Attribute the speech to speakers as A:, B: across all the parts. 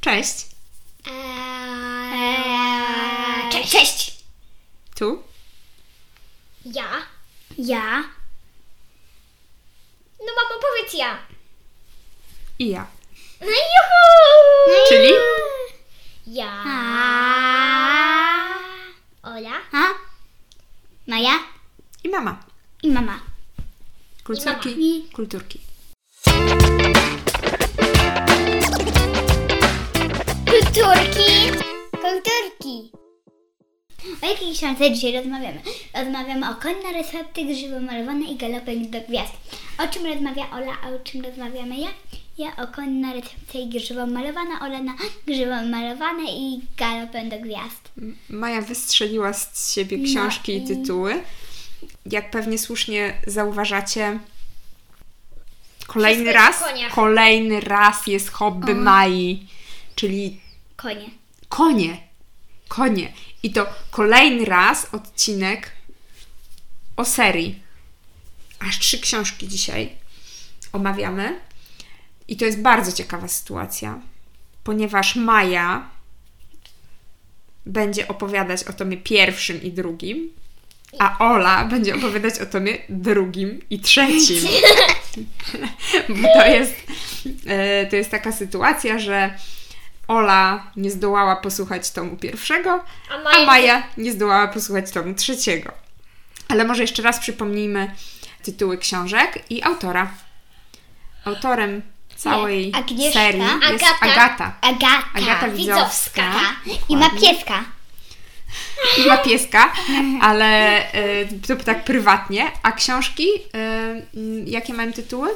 A: Cześć.
B: Eee, cze- Cześć!
A: Tu.
B: Ja?
C: Ja.
B: No mamo, powiedz ja.
A: I ja.
B: No juhu!
A: Czyli?
B: Ja.
C: A.
B: Ola.
C: A. Maja
A: I mama.
C: i mama.
A: Kulturki. Kulturki.
B: Kulturki. Kulturki.
C: O jakiej książce dzisiaj rozmawiamy? Rozmawiamy o Konna recepty, grzyby malowane i galopek do gwiazd. O czym rozmawia Ola, a o czym rozmawiamy ja? Ja o Konna recepty i grzyby malowane, Ola na grzyby malowane i galopem do gwiazd.
A: Maja wystrzeliła z siebie książki i tytuły. Jak pewnie słusznie zauważacie, kolejny
B: Wszystko jest
A: raz,
B: o koniach.
A: kolejny raz jest hobby Mai, czyli
C: Konie.
A: konie. Konie. I to kolejny raz odcinek o serii. Aż trzy książki dzisiaj omawiamy. I to jest bardzo ciekawa sytuacja, ponieważ Maja będzie opowiadać o tomie pierwszym i drugim, a Ola będzie opowiadać o tomie drugim i trzecim. Bo to jest, e, to jest taka sytuacja, że Ola nie zdołała posłuchać tomu pierwszego,
B: A
A: a
B: Maja-
A: Maja nie zdołała posłuchać tomu trzeciego. Ale może jeszcze raz przypomnijmy tytuły książek i autora. Autorem całej
C: Nie, Agnieszka.
A: serii jest
B: Agata.
A: Agata.
C: Agata.
A: Agata Widzowska.
C: I ma pieska.
A: I ma pieska, ale e, to tak prywatnie. A książki, e, m, jakie mają tytuły?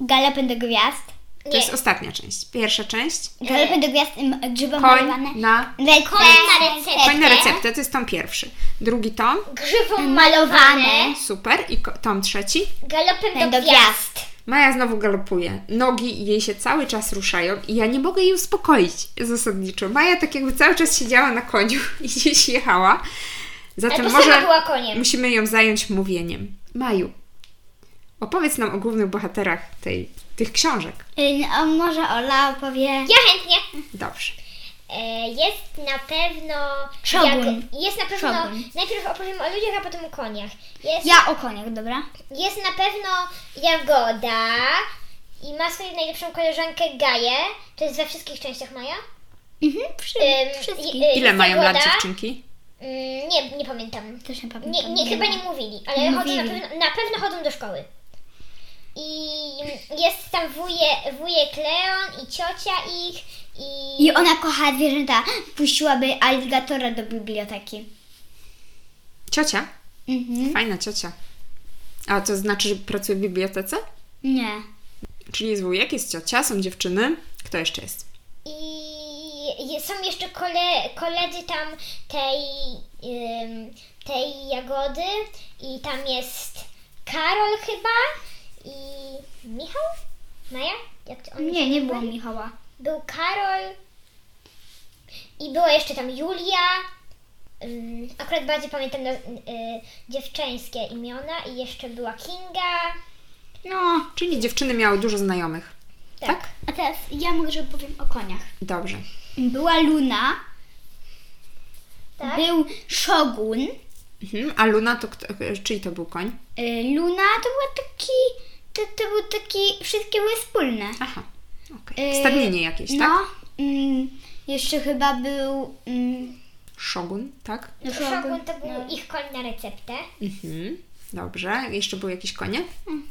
C: Galopem do gwiazd.
A: To
B: Nie.
A: jest ostatnia część. Pierwsza część.
C: Galopem do gwiazd, m, grzyby
A: Koń
C: malowane.
A: na,
C: Recepty.
B: Koń na receptę.
A: koń na receptę. To jest tom pierwszy. Drugi tom.
B: Grzywą
C: Malowane.
B: malowane.
A: Super. I ko- tom trzeci.
B: Galopem do
C: Do
B: gwiazd.
C: gwiazd.
A: Maja znowu galopuje. Nogi jej się cały czas ruszają i ja nie mogę jej uspokoić zasadniczo. Maja tak jakby cały czas siedziała na koniu i gdzieś jechała. Zatem
B: Albo
A: może
B: sama była koniem.
A: musimy ją zająć mówieniem. Maju, opowiedz nam o głównych bohaterach tej, tych książek.
C: Y, A może Ola opowie.
B: Ja chętnie.
A: Dobrze.
B: E, Jest na pewno.
C: Szogun.
B: jak- Jest na pewno.
C: Szogun.
B: Najpierw opowiem o ludziach, a potem o koniach. Jest,
C: Ja o koniach, dobra?
B: jest na pewno Jagoda i ma swoją najlepszą koleżankę Gaję. To jest we wszystkich częściach Maja.
C: Mhm, przy,
B: Ym,
C: wszystkich.
B: i- y-
A: Ile mają
B: Jagoda?
A: lat dziewczynki?
B: Mm, nie, nie pamiętam.
C: Też nie pamiętam.
B: Nie, nie, chyba nie mówili, ale
C: Nie
B: chodzą na,
C: mówili.
B: pewno, na pewno chodzą do szkoły. I jest tam wuje, wujek Leon i ciocia ich i...
C: I ona kocha zwierzęta. Puściłaby aligatora do biblioteki.
A: Ciocia?
C: Mhm.
A: Fajna ciocia. A to znaczy, że pracuje w bibliotece?
C: Nie.
A: Czyli jest wujek, jest ciocia, są dziewczyny. Kto jeszcze jest?
B: I je- są jeszcze kole, koledzy tam tej, ym, tej jagody i tam jest Karol chyba i Michał? Maja? Jak to on
C: Nie, nie
B: był?
C: było Michała.
B: Był Karol i była jeszcze tam Julia. Ym, akurat bardziej pamiętam na, y, dziewczęskie imiona i jeszcze była Kinga.
A: No, czyli dziewczyny miały dużo znajomych.
B: Tak.
A: tak?
C: A teraz ja może powiem o koniach.
A: Dobrze.
C: Była Luna,
B: Tak.
C: był Szogun.
A: Mhm. A Luna to kto, czyj to był koń?
C: Y, Luna to był taki. To, to był taki. Wszystkie były wspólne.
A: Aha. Okay.
C: Y,
A: Stadnienie E, jakieś,
C: no,
A: tak?
C: mm, jeszcze chyba był. Mm,
A: Szogun, tak?
B: Szogun to był ich koń na receptę.
A: Mhm. Dobrze. Jeszcze były jakieś konie?
B: Ym,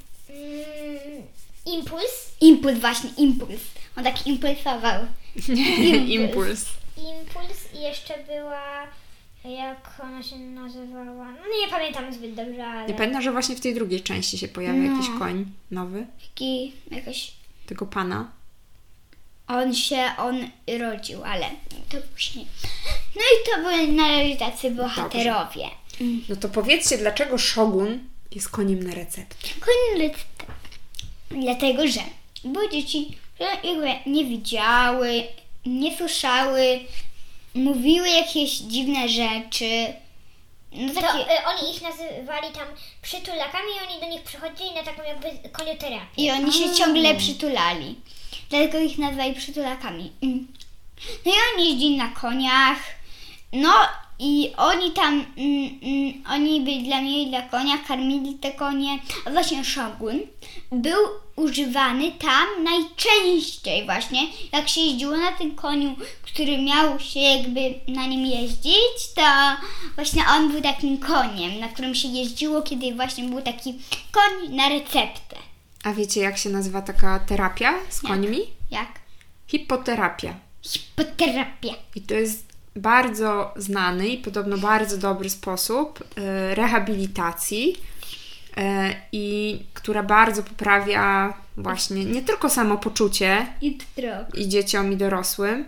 B: impuls.
C: Impuls właśnie, impuls. On tak impulsował.
A: Impuls.
B: Impuls i jeszcze była. Jak ona się nazywała? No nie pamiętam zbyt dobrze, ale.
A: Nie
C: Tak.
A: pamiętam, że właśnie w tej drugiej części się pojawia
C: No.
A: jakiś koń nowy,
C: Taki jakoś...
A: tego pana.
C: On się, on rodził, ale to później. No i to były na razie tacy bohaterowie.
A: No to powiedzcie, dlaczego Szogun jest koniem na receptę?
C: Koniec. Dlatego, że były dzieci, które jakby nie widziały, nie słyszały, mówiły jakieś dziwne rzeczy. No
B: To,
C: takie...
B: y, oni ich nazywali tam przytulakami i oni do nich przychodzili na taką jakby konioterapię.
C: I oni się ciągle przytulali. Dlatego ich nazwali przytulakami. Mm. No i on jeździ na koniach. No i oni tam, mm, mm, oni by dla mnie i dla konia karmili te konie. A właśnie szogun był używany tam najczęściej właśnie, jak się jeździło na tym koniu, który miał się jakby na nim jeździć, to właśnie on był takim koniem, na którym się jeździło, kiedy właśnie był taki koń na receptę.
A: A wiecie, jak się nazywa taka terapia z końmi?
C: Jak?
A: Hipoterapia.
C: Hipoterapia.
A: I to jest bardzo znany i podobno bardzo dobry sposób e, rehabilitacji, e, i która bardzo poprawia właśnie nie tylko samopoczucie
C: I drog.
A: i dzieciom, i dorosłym,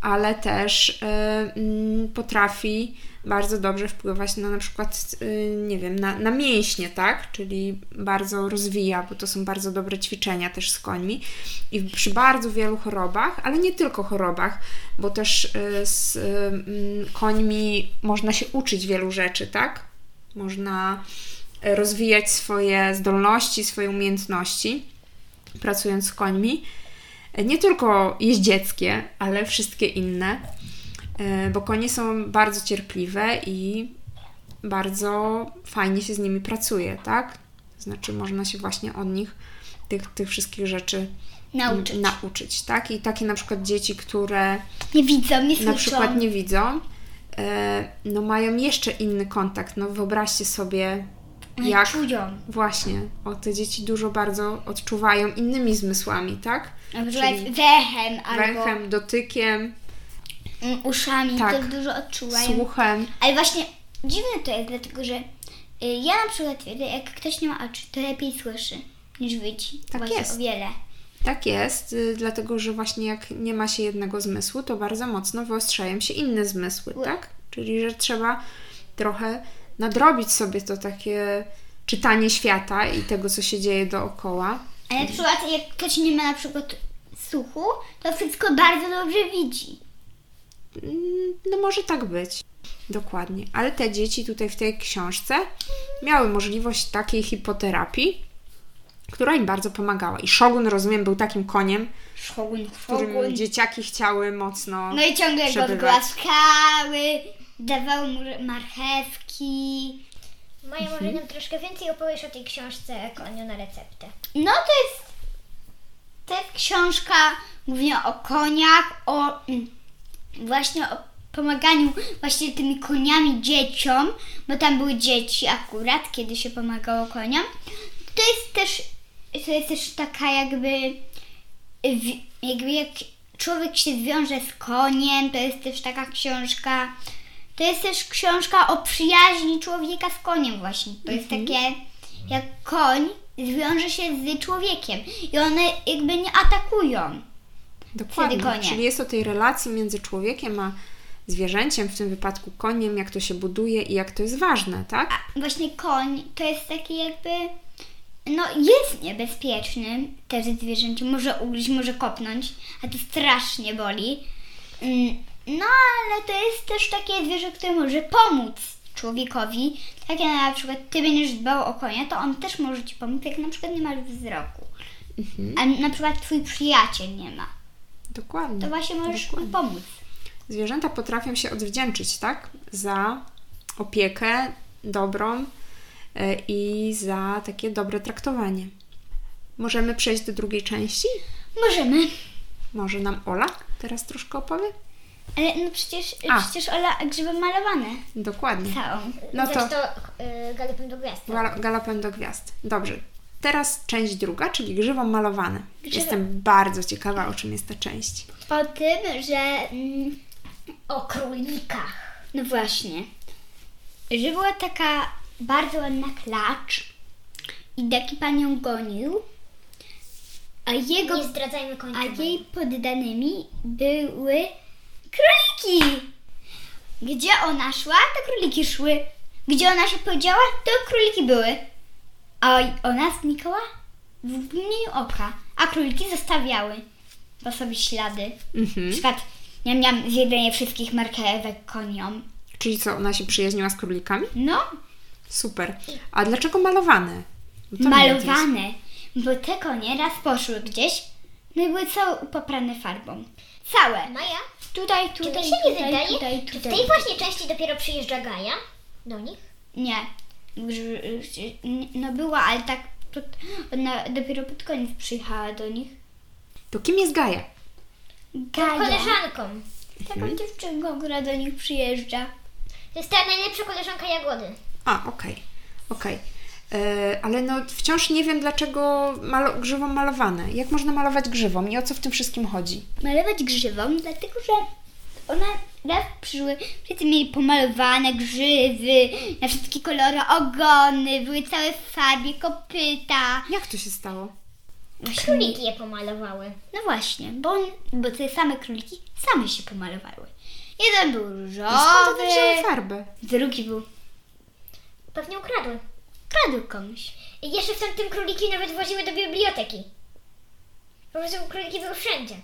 A: ale też e, mm, potrafi bardzo dobrze wpływać na na przykład, y, nie wiem, na, na mięśnie, tak? Czyli bardzo rozwija, bo to są bardzo dobre ćwiczenia też z końmi. I przy bardzo wielu chorobach, ale nie tylko chorobach, bo też y, z y, mm, końmi można się uczyć wielu rzeczy, tak? Można y, rozwijać swoje zdolności, swoje umiejętności pracując z końmi. Nie tylko jeździeckie, ale wszystkie inne, e, bo konie są bardzo cierpliwe i bardzo fajnie się z nimi pracuje, tak? Znaczy, można się właśnie od nich tych, tych wszystkich rzeczy
C: Nauczyć.
A: m, nauczyć, tak? I takie na przykład dzieci, które
C: Nie widzą, nie słyszą.
A: na przykład nie widzą, e, no mają jeszcze inny kontakt. No wyobraźcie sobie,
C: No i
A: jak
C: Czują.
A: właśnie o te dzieci dużo bardzo odczuwają innymi zmysłami, tak?
C: Na przykład
A: Czyli
C: wechem albo
A: Węchem, dotykiem,
C: mm, uszami
A: Tak.
C: to dużo odczuwają.
A: słuchem.
C: Ale właśnie dziwne to jest, dlatego że y, ja na przykład twierdzę, jak ktoś nie ma oczu, to lepiej słyszy niż widzi.
A: Tak
C: właśnie
A: jest.
C: o wiele.
A: Tak jest, y, dlatego że właśnie jak nie ma się jednego zmysłu, to bardzo mocno wyostrzają się inne zmysły, tak? Czyli że trzeba trochę nadrobić sobie to takie czytanie świata i tego, co się dzieje dookoła.
C: A na przykład jak ktoś nie ma na przykład słuchu, to wszystko bardzo dobrze widzi.
A: Mm, No może tak być. Dokładnie. Ale te dzieci tutaj w tej książce miały możliwość takiej hipoterapii, która im bardzo pomagała. I Shogun, rozumiem, był takim koniem,
C: Szogun,
A: którym dzieciaki chciały mocno.
C: No i ciągle go
A: przebywać.
C: głaskały, dawały mu marchewki.
B: Maja,
C: Mhm.
B: może nam troszkę więcej opowiesz o tej książce Koniu na receptę.
C: No to jest, to jest książka głównie o koniach, o mm, właśnie o pomaganiu właśnie tymi koniami dzieciom, bo tam były dzieci akurat, kiedy się pomagało koniom. To jest też, to jest też taka jakby, wi- jakby jak człowiek się wiąże z koniem, to jest też taka książka. To jest też książka o przyjaźni człowieka z koniem właśnie. To jest takie, jak koń zwiąże się z człowiekiem i one jakby nie atakują.
A: Dokładnie.
C: Wtedy konie.
A: Czyli jest o tej relacji między człowiekiem a zwierzęciem, w tym wypadku koniem, jak to się buduje i jak to jest ważne, tak?
C: właśnie koń to jest taki jakby. No, jest niebezpieczny też zwierzęcie. Może ugryźć, może kopnąć, a to strasznie boli. Mm, No, ale to jest też takie zwierzę, które może pomóc człowiekowi. Tak jak na przykład ty będziesz dbał o konia, to on też może ci pomóc, jak na przykład nie masz wzroku.
A: Mhm.
C: A na przykład twój przyjaciel nie ma.
A: Dokładnie.
C: To właśnie możesz mu pomóc.
A: Zwierzęta potrafią się odwdzięczyć, tak? Za opiekę dobrą e, i za takie dobre traktowanie. Możemy przejść do drugiej części?
C: Możemy.
A: Może nam Ola teraz troszkę opowie?
C: Ale no przecież,
A: A.
C: przecież Ola grzyby malowane
A: Dokładnie.
C: całą.
A: No to
B: Zresztą y, galopem do gwiazd.
A: Gal- Galopem do gwiazd. Dobrze. Teraz część druga, czyli grzywą malowane.
C: Grzywo-
A: Jestem bardzo ciekawa, o czym jest ta część.
C: O tym, że. mm,
B: O królikach.
C: No właśnie. Że była taka bardzo ładna klacz i taki pan ją gonił, a jego.
B: Nie zdradzajmy końca.
C: A jej poddanymi były króliki. Gdzie ona szła, to króliki szły. Gdzie ona się podziała, to króliki były. A ona znikała w mgnieniu oka, a króliki zostawiały po sobie ślady. Na
A: Mhm.
C: przykład miam, miam zjedzenie wszystkich marchewek koniom.
A: Czyli co, ona się przyjaźniła z królikami?
C: No,
A: Super. A dlaczego malowane? Bo to mnie interesuje.
C: malowane. Bo te konie raz poszły gdzieś, no i były całe poprane farbą. Całe.
B: Maja,
C: Tutaj,
B: czy to
C: tutaj,
B: się nie
C: tutaj,
B: wydaje,
C: tutaj,
B: czy w
C: tutaj.
B: tej właśnie części dopiero przyjeżdża Gaja do nich?
C: Nie. Grz- grz- No była, ale tak pod, ona dopiero pod koniec przyjechała do nich.
A: To kim jest Gaja?
C: Gaja.
B: Koleżanką.
A: Mhm.
C: Taką dziewczynką, która do nich przyjeżdża.
B: To jest ta najlepsza koleżanka Jagody.
C: Mhm.
A: A, okej, okej. E, Ale no wciąż nie wiem, dlaczego malo- grzywą malowane. Jak można malować grzywą i o co w tym wszystkim chodzi?
C: malować grzywą, dlatego że ona raz przyszły, wszyscy mieli pomalowane grzywy, na wszystkie kolory ogony, były całe w farbie, kopyta.
A: Jak to się stało?
C: Właśnie,
B: Króliki je pomalowały.
C: no właśnie, bo, on, bo te same króliki same się pomalowały. Jeden był
A: Skąd one wzięły
C: różowy,
A: farbę?
C: drugi był
B: Pewnie ukradły.
C: kradł komuś.
B: I jeszcze w tamtym króliki nawet woziły do biblioteki. Po prostu króliki były wszędzie.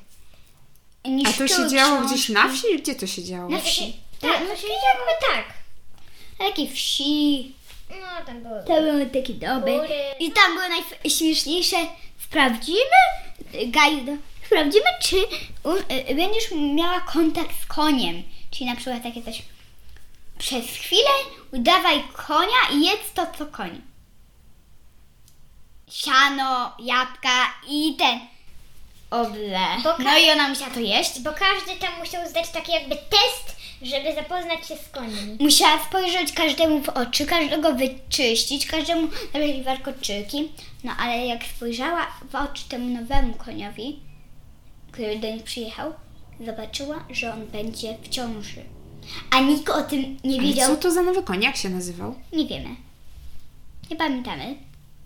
C: Niszczył
A: A to się działo
C: książki.
A: gdzieś na wsi? Gdzie to się działo?
C: Na
B: To się-
C: wsi.
B: Tak, no się jakby tak.
C: Na takiej wsi.
B: No tam były.
C: To były takie doby.
B: Góry.
C: I tam było najśmieszniejsze. Sprawdzimy, Gajdo, sprawdzimy, czy u- y, będziesz miała kontakt z koniem. Czyli na przykład takie coś. Przez chwilę udawaj konia i jedz to, co koń. Siano, jabłka i ten. Oble.
B: Bo
C: No i ona musiała to jeść.
B: Bo każdy tam musiał zdać taki jakby test, żeby zapoznać się z końmi.
C: Musiała spojrzeć każdemu w oczy, każdego wyczyścić, każdemu zabrać warkoczyki. No ale jak spojrzała w oczy temu nowemu koniowi, który do nich przyjechał, zobaczyła, że on będzie w ciąży. A nikt o tym nie
A: Ale
C: wiedział.
A: Co to za nowy koń? Jak się nazywał?
C: Nie wiemy. Nie pamiętamy.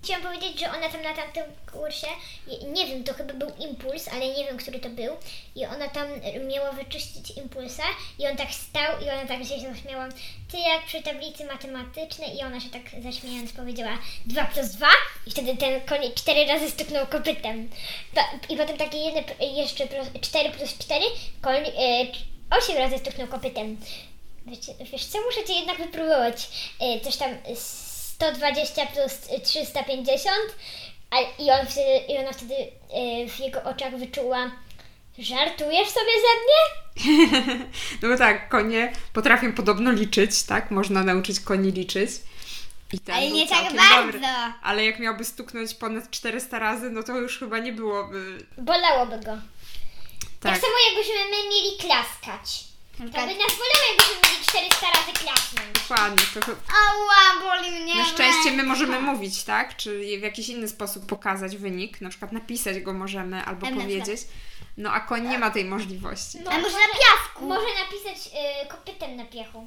B: Chciałam powiedzieć, że ona tam na tamtym kursie, je- nie wiem, to chyba był impuls, ale nie wiem, który to był. I ona tam e, miała wyczyścić impulsa i on tak stał i ona tak się zaśmiała. Ty jak przy tablicy matematycznej i ona się tak zaśmiejąc powiedziała 2 plus 2 i wtedy ten koń cztery razy stuknął kopytem. Pa- I potem takie jedne, p- jeszcze pro- 4 plus 4, koń e, 8 razy stuknął kopytem. Wiecie, wiesz co, muszę cię jednak wypróbować. E, Coś tam e, 120 plus 350. A, i, on wtedy, I ona wtedy e, w jego oczach wyczuła, żartujesz sobie ze mnie?
A: No bo tak, konie potrafią podobno liczyć, tak? Można nauczyć koni liczyć. I ten
C: Ale
A: był
C: nie tak
A: całkiem
C: bardzo.
A: dobry. Ale jak miałby stuknąć ponad 400 razy, no to już chyba nie byłoby...
B: Bolałoby go. Tak,
A: Tak,
B: samo jakbyśmy my mieli klaskać. To by
C: Tak.
B: nas bolało, jakbyśmy mieli 400 razy klasnąć.
A: dokładnie. To chyba...
C: Ała, boli mnie.
A: Na szczęście my
C: ręka.
A: możemy mówić, tak? Czy w jakiś inny sposób pokazać wynik, na przykład napisać go możemy albo
C: Tak, na No.
A: powiedzieć. No a koń nie ma tej możliwości.
C: A może na piasku?
B: Może napisać y, kopytem na piechu.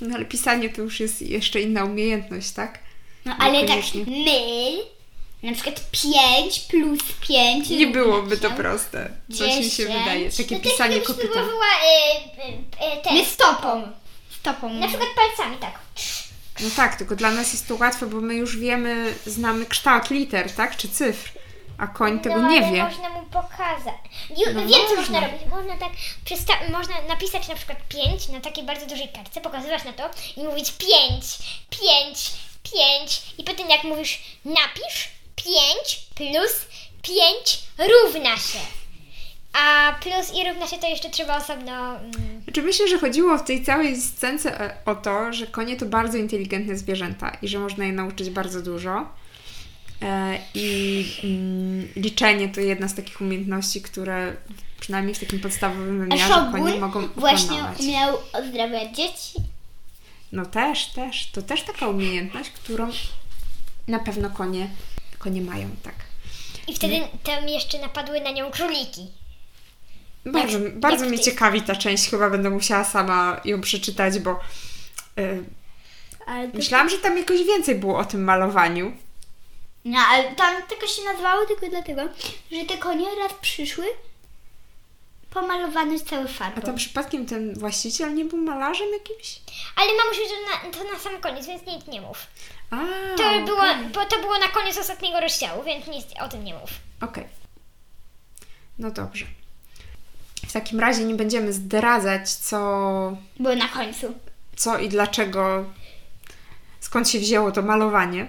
A: No ale pisanie to już jest jeszcze inna umiejętność, tak?
C: No ale tak
A: Niekoniecznie.
C: myl, na przykład 5 plus 5.
A: Nie byłoby to proste. Coś mi się
C: Dziesięć.
A: wydaje. Takie
C: No
B: to też
A: pisanie
B: gdybyś
A: kopytem.
B: próbowała y, y, y, ten,
C: My stopą. Stopą.
B: na przykład palcami tak.
A: No tak, tylko dla nas jest to łatwe, bo my już wiemy, znamy kształt liter, tak? Czy cyfr. A koń tego
B: no,
A: nie
B: ale
A: wie.
B: można mu pokazać. Ju,
A: No
B: wiem, co
A: można.
B: można robić. Można tak przysta- można napisać na przykład 5 na takiej bardzo dużej kartce, pokazywać na to i mówić 5, 5, 5 i potem jak mówisz napisz 5 plus 5 równa się. A plus i równa się to jeszcze trzeba osobno... Mm,
A: Znaczy myślę, że chodziło w tej całej scence e, o to, że konie to bardzo inteligentne zwierzęta i że można je nauczyć bardzo dużo. E, I mm, liczenie to jedna z takich umiejętności, które przynajmniej w takim podstawowym
C: A
A: wymiarze konie mogą
C: Szogun właśnie
A: opanować.
C: umiał ozdrawiać dzieci.
A: No też, też. To też taka umiejętność, którą na pewno konie, konie mają, tak.
B: I wtedy tam jeszcze napadły na nią króliki.
A: Bardzo,
B: Jak-
A: bardzo
B: jak
A: mnie
B: ty.
A: ciekawi ta część, chyba będę musiała sama ją przeczytać, bo e,
C: Ale to...
A: myślałam, że tam jakoś więcej było o tym malowaniu.
C: No, ale tam tylko się nazywało tylko dlatego, że te konie raz przyszły pomalowane cały
A: A
C: farbą.
B: Tak.
A: tam przypadkiem ten właściciel nie był malarzem jakimś?
B: Ale mamusiu, to na, to na sam koniec, więc nic nie mów.
A: A,
B: To,
A: No,
B: było, bo to było na koniec ostatniego rozdziału, więc nic o tym nie mów.
A: Okej. No dobrze. W takim razie nie będziemy zdradzać, co,
C: Było na końcu.
A: co i dlaczego, skąd się wzięło to malowanie.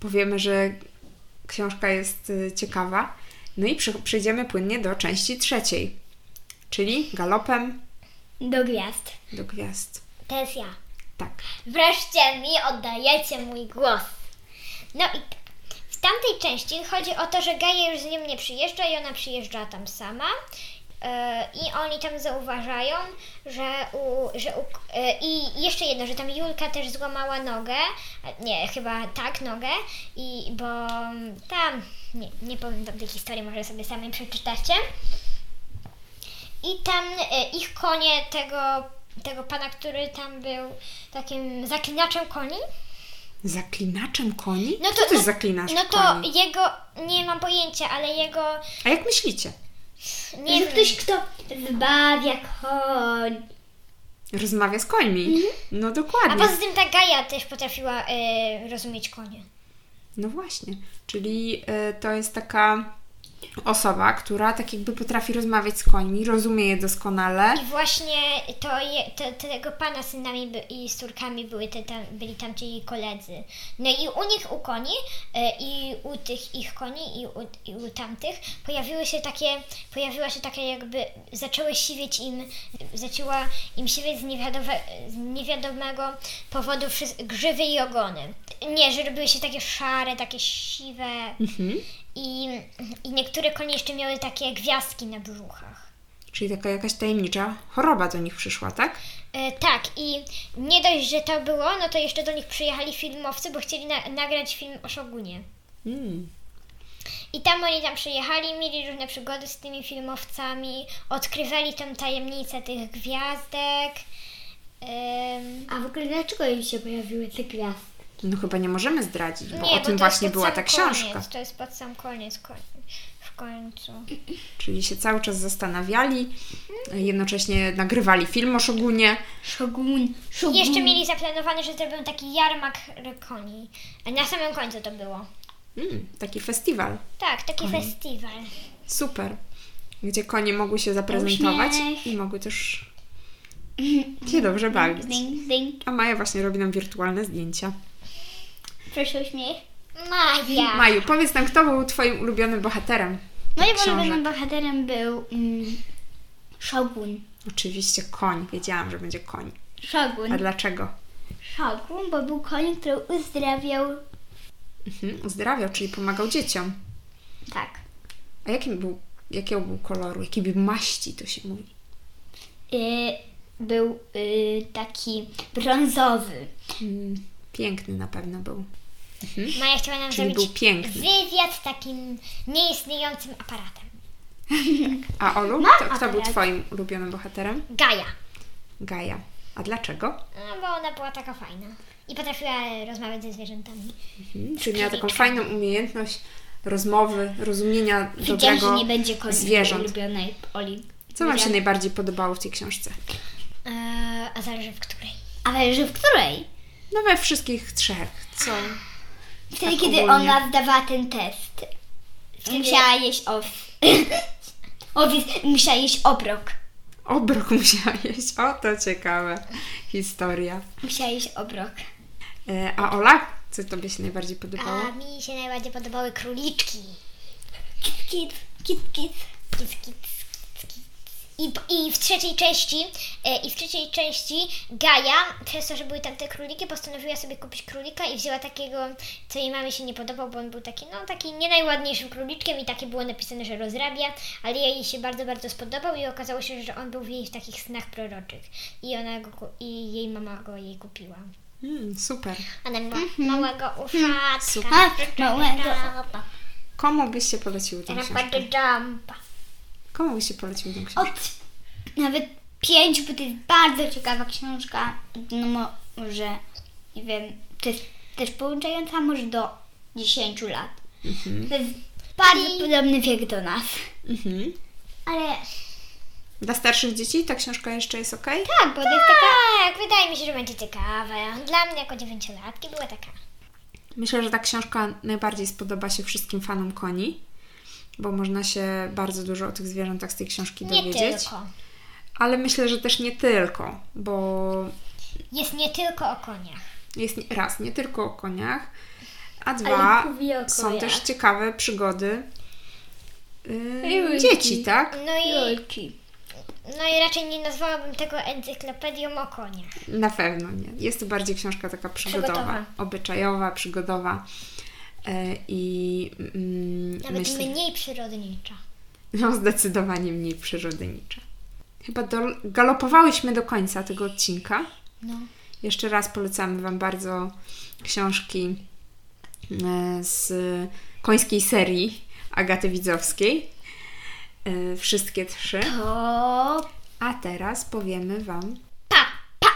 A: Powiemy, że książka jest y, ciekawa. No i przy, przejdziemy płynnie do części trzeciej. Czyli galopem
C: Do gwiazd.
A: do gwiazd.
B: To jest ja.
A: Tak.
B: Wreszcie mi oddajecie mój głos. No i tak. W tamtej części chodzi o to, że Gaja już z nią nie przyjeżdża i ona przyjeżdża tam sama. Yy, I oni tam zauważają, że u, że u, yy, i jeszcze jedno, że tam Julka też złamała nogę, a nie, chyba tak, nogę, i bo tam, nie, nie pamiętam tej historii, może sobie sami przeczytacie. I tam e, ich konie tego, tego pana, który tam był takim zaklinaczem koni.
A: Zaklinaczem koni?
B: No to-
A: Co to jest
B: no-
A: zaklinacz
B: No to
A: koni?
B: jego, nie mam pojęcia, ale jego,
A: A jak myślicie?
B: nie
C: że
B: wiem,
C: ktoś, kto zbawia koń.
A: Rozmawia z końmi. No
B: Mhm. a
A: dokładnie.
B: poza tym ta Gaja też potrafiła e, rozumieć konie.
A: No właśnie. Czyli e, to jest taka osoba, która tak jakby potrafi rozmawiać z końmi, rozumie je doskonale.
B: I właśnie to, je, to, to tego pana z synami by, i z córkami były te tam, byli tam ci jej koledzy. No i u nich, u koni e, i u tych ich koni i u, i u tamtych pojawiły się takie, pojawiła się takie jakby, zaczęły siwieć im, zaczęła im siwieć z, niewiadome, z niewiadomego powodu wszys- grzywy i ogony. Nie, że robiły się takie szare, takie siwe
A: Mhm.
B: i, i niektóre konie jeszcze miały takie gwiazdki na brzuchach.
A: Czyli taka jakaś tajemnicza choroba do nich przyszła, tak?
B: E, tak, i nie dość, że to było, no to jeszcze do nich przyjechali filmowcy, bo chcieli na- nagrać film o Szogunie.
A: Mm.
B: I tam oni tam przyjechali, mieli różne przygody z tymi filmowcami, odkrywali tam tajemnicę tych gwiazdek. Em,
C: A w ogóle dlaczego im się pojawiły te gwiazdy?
A: No chyba nie możemy zdradzić, bo
B: nie,
A: o
B: bo
A: tym
B: to
A: właśnie
B: jest pod
A: była
B: sam
A: ta książka.
B: Koniec, to jest pod sam koniec, koń, w końcu.
A: Czyli się cały czas zastanawiali, jednocześnie nagrywali film o Szogunie.
C: Szogun,
B: I
C: szogun.
B: jeszcze mieli zaplanowane, że zrobią taki jarmark koni. A na samym końcu to było.
A: Mm, taki festiwal,
B: Tak, taki festiwal.
A: super, gdzie konie mogły się zaprezentować i mogły też się dobrze bawić.
C: Ding, ding.
A: A Maja właśnie robi nam wirtualne zdjęcia.
C: Proszę uśmiech.
B: Maja!
A: Maju, powiedz nam, kto był Twoim ulubionym bohaterem? tych
C: Moim
A: książek?
C: ulubionym bohaterem był mm, Szogun.
A: Oczywiście koń, wiedziałam, że będzie koń. A
C: Szogun.
A: dlaczego?
C: Szogun, bo Tak, był koń, który uzdrawiał.
A: Mhm, uzdrawiał, czyli pomagał dzieciom.
C: Tak.
A: A jakim był, jakiego był koloru, jakiej był maści, to się mówi?
C: Y, był y, taki brązowy.
A: Mm, piękny na pewno był.
B: Maja chciała No, nam
A: Czyli
B: zrobić
A: był piękny.
B: wywiad takim nieistniejącym aparatem.
A: A Olu,
C: Ma
A: kto, kto był
C: aparat.
A: Twoim ulubionym bohaterem?
B: Gaja.
A: Gaja. A dlaczego?
B: No, bo ona była taka fajna. I potrafiła rozmawiać ze zwierzętami.
A: Mhm, Czyli miała taką fajną umiejętność rozmowy, rozumienia
C: Wiedziałam, że
A: dobrego
C: nie będzie koń
A: zwierząt.
C: ulubionej Oli.
A: Co Wam się najbardziej podobało w tej książce?
B: Eee, a zależy w której.
C: Ale że w której?
A: No we wszystkich trzech. Co?
C: Wtedy,
A: Tak
C: kiedy
A: ogólnie.
C: ona zdawała ten test.
B: Wtedy-
C: Musiała jeść ow. Owiec, musiała jeść obrok.
A: Obrok musiała jeść. O, to ciekawe. Historia.
C: Musiała jeść obrok.
A: E, A Ola, co Tobie się najbardziej podobało?
B: A mi się najbardziej podobały króliczki.
C: Kit, kit, kit, kit.
B: Kic, kic, kic, kic. I, I w trzeciej części, e, i w trzeciej części Gaja, przez to, że były tam te króliki, postanowiła sobie kupić królika i wzięła takiego, co jej mamie się nie podobał, bo on był taki, no taki nie najładniejszym króliczkiem i takie było napisane, że rozrabia, ale jej się bardzo, bardzo spodobał i okazało się, że on był w jej w takich snach proroczych i ona go, ku- i jej mama go jej kupiła.
A: Mm, super.
B: Ona miała
C: Mhm.
B: małego uszatka,
A: Super.
C: A, no, małego.
A: Komu byś się polecił tą książkę?
B: rapady jumpa.
A: Komu byś się polecił tą książkę?
C: Od nawet pięć, bo to jest bardzo ciekawa książka. No mo- może, nie wiem, to jest też połączająca może do 10 lat. To jest bardzo
B: I-
C: podobny wiek do nas.
A: Mhm.
C: Ale
A: Dla starszych dzieci ta książka jeszcze jest ok?
C: tak, bo to jest taka...
B: Tak, wydaje mi się, że będzie ciekawe. Dla mnie jako dziewięciolatki była taka.
A: Myślę, że ta książka najbardziej spodoba się wszystkim fanom koni, bo można się bardzo dużo o tych zwierzętach z tej książki
B: Nie
A: dowiedzieć.
B: tylko.
A: Ale myślę, że też nie tylko, bo
B: Jest nie tylko o koniach.
A: jest nie- raz, nie tylko o koniach, a
C: i
A: dwa,
C: mówi o
A: są
C: kojach.
A: też ciekawe przygody yy,
C: Julki.
A: dzieci, tak?
B: No i,
C: Jolki.
B: No i raczej nie nazwałabym tego encyklopedią o koniach.
A: Na pewno nie. Jest to bardziej książka taka przygodowa,
B: Przygotowa.
A: obyczajowa, przygodowa. E, I mm,
B: Nawet
A: myślę,
B: mniej przyrodnicza.
A: no, zdecydowanie mniej przyrodnicza. Chyba do, galopowałyśmy do końca tego odcinka.
B: No.
A: Jeszcze raz polecamy Wam bardzo książki e, z końskiej serii Agaty Widzowskiej. E, Wszystkie trzy.
C: To
A: A teraz powiemy Wam
B: Pa! Pa!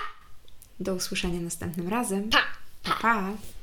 A: do usłyszenia następnym razem.
B: Pa!
A: Pa! pa.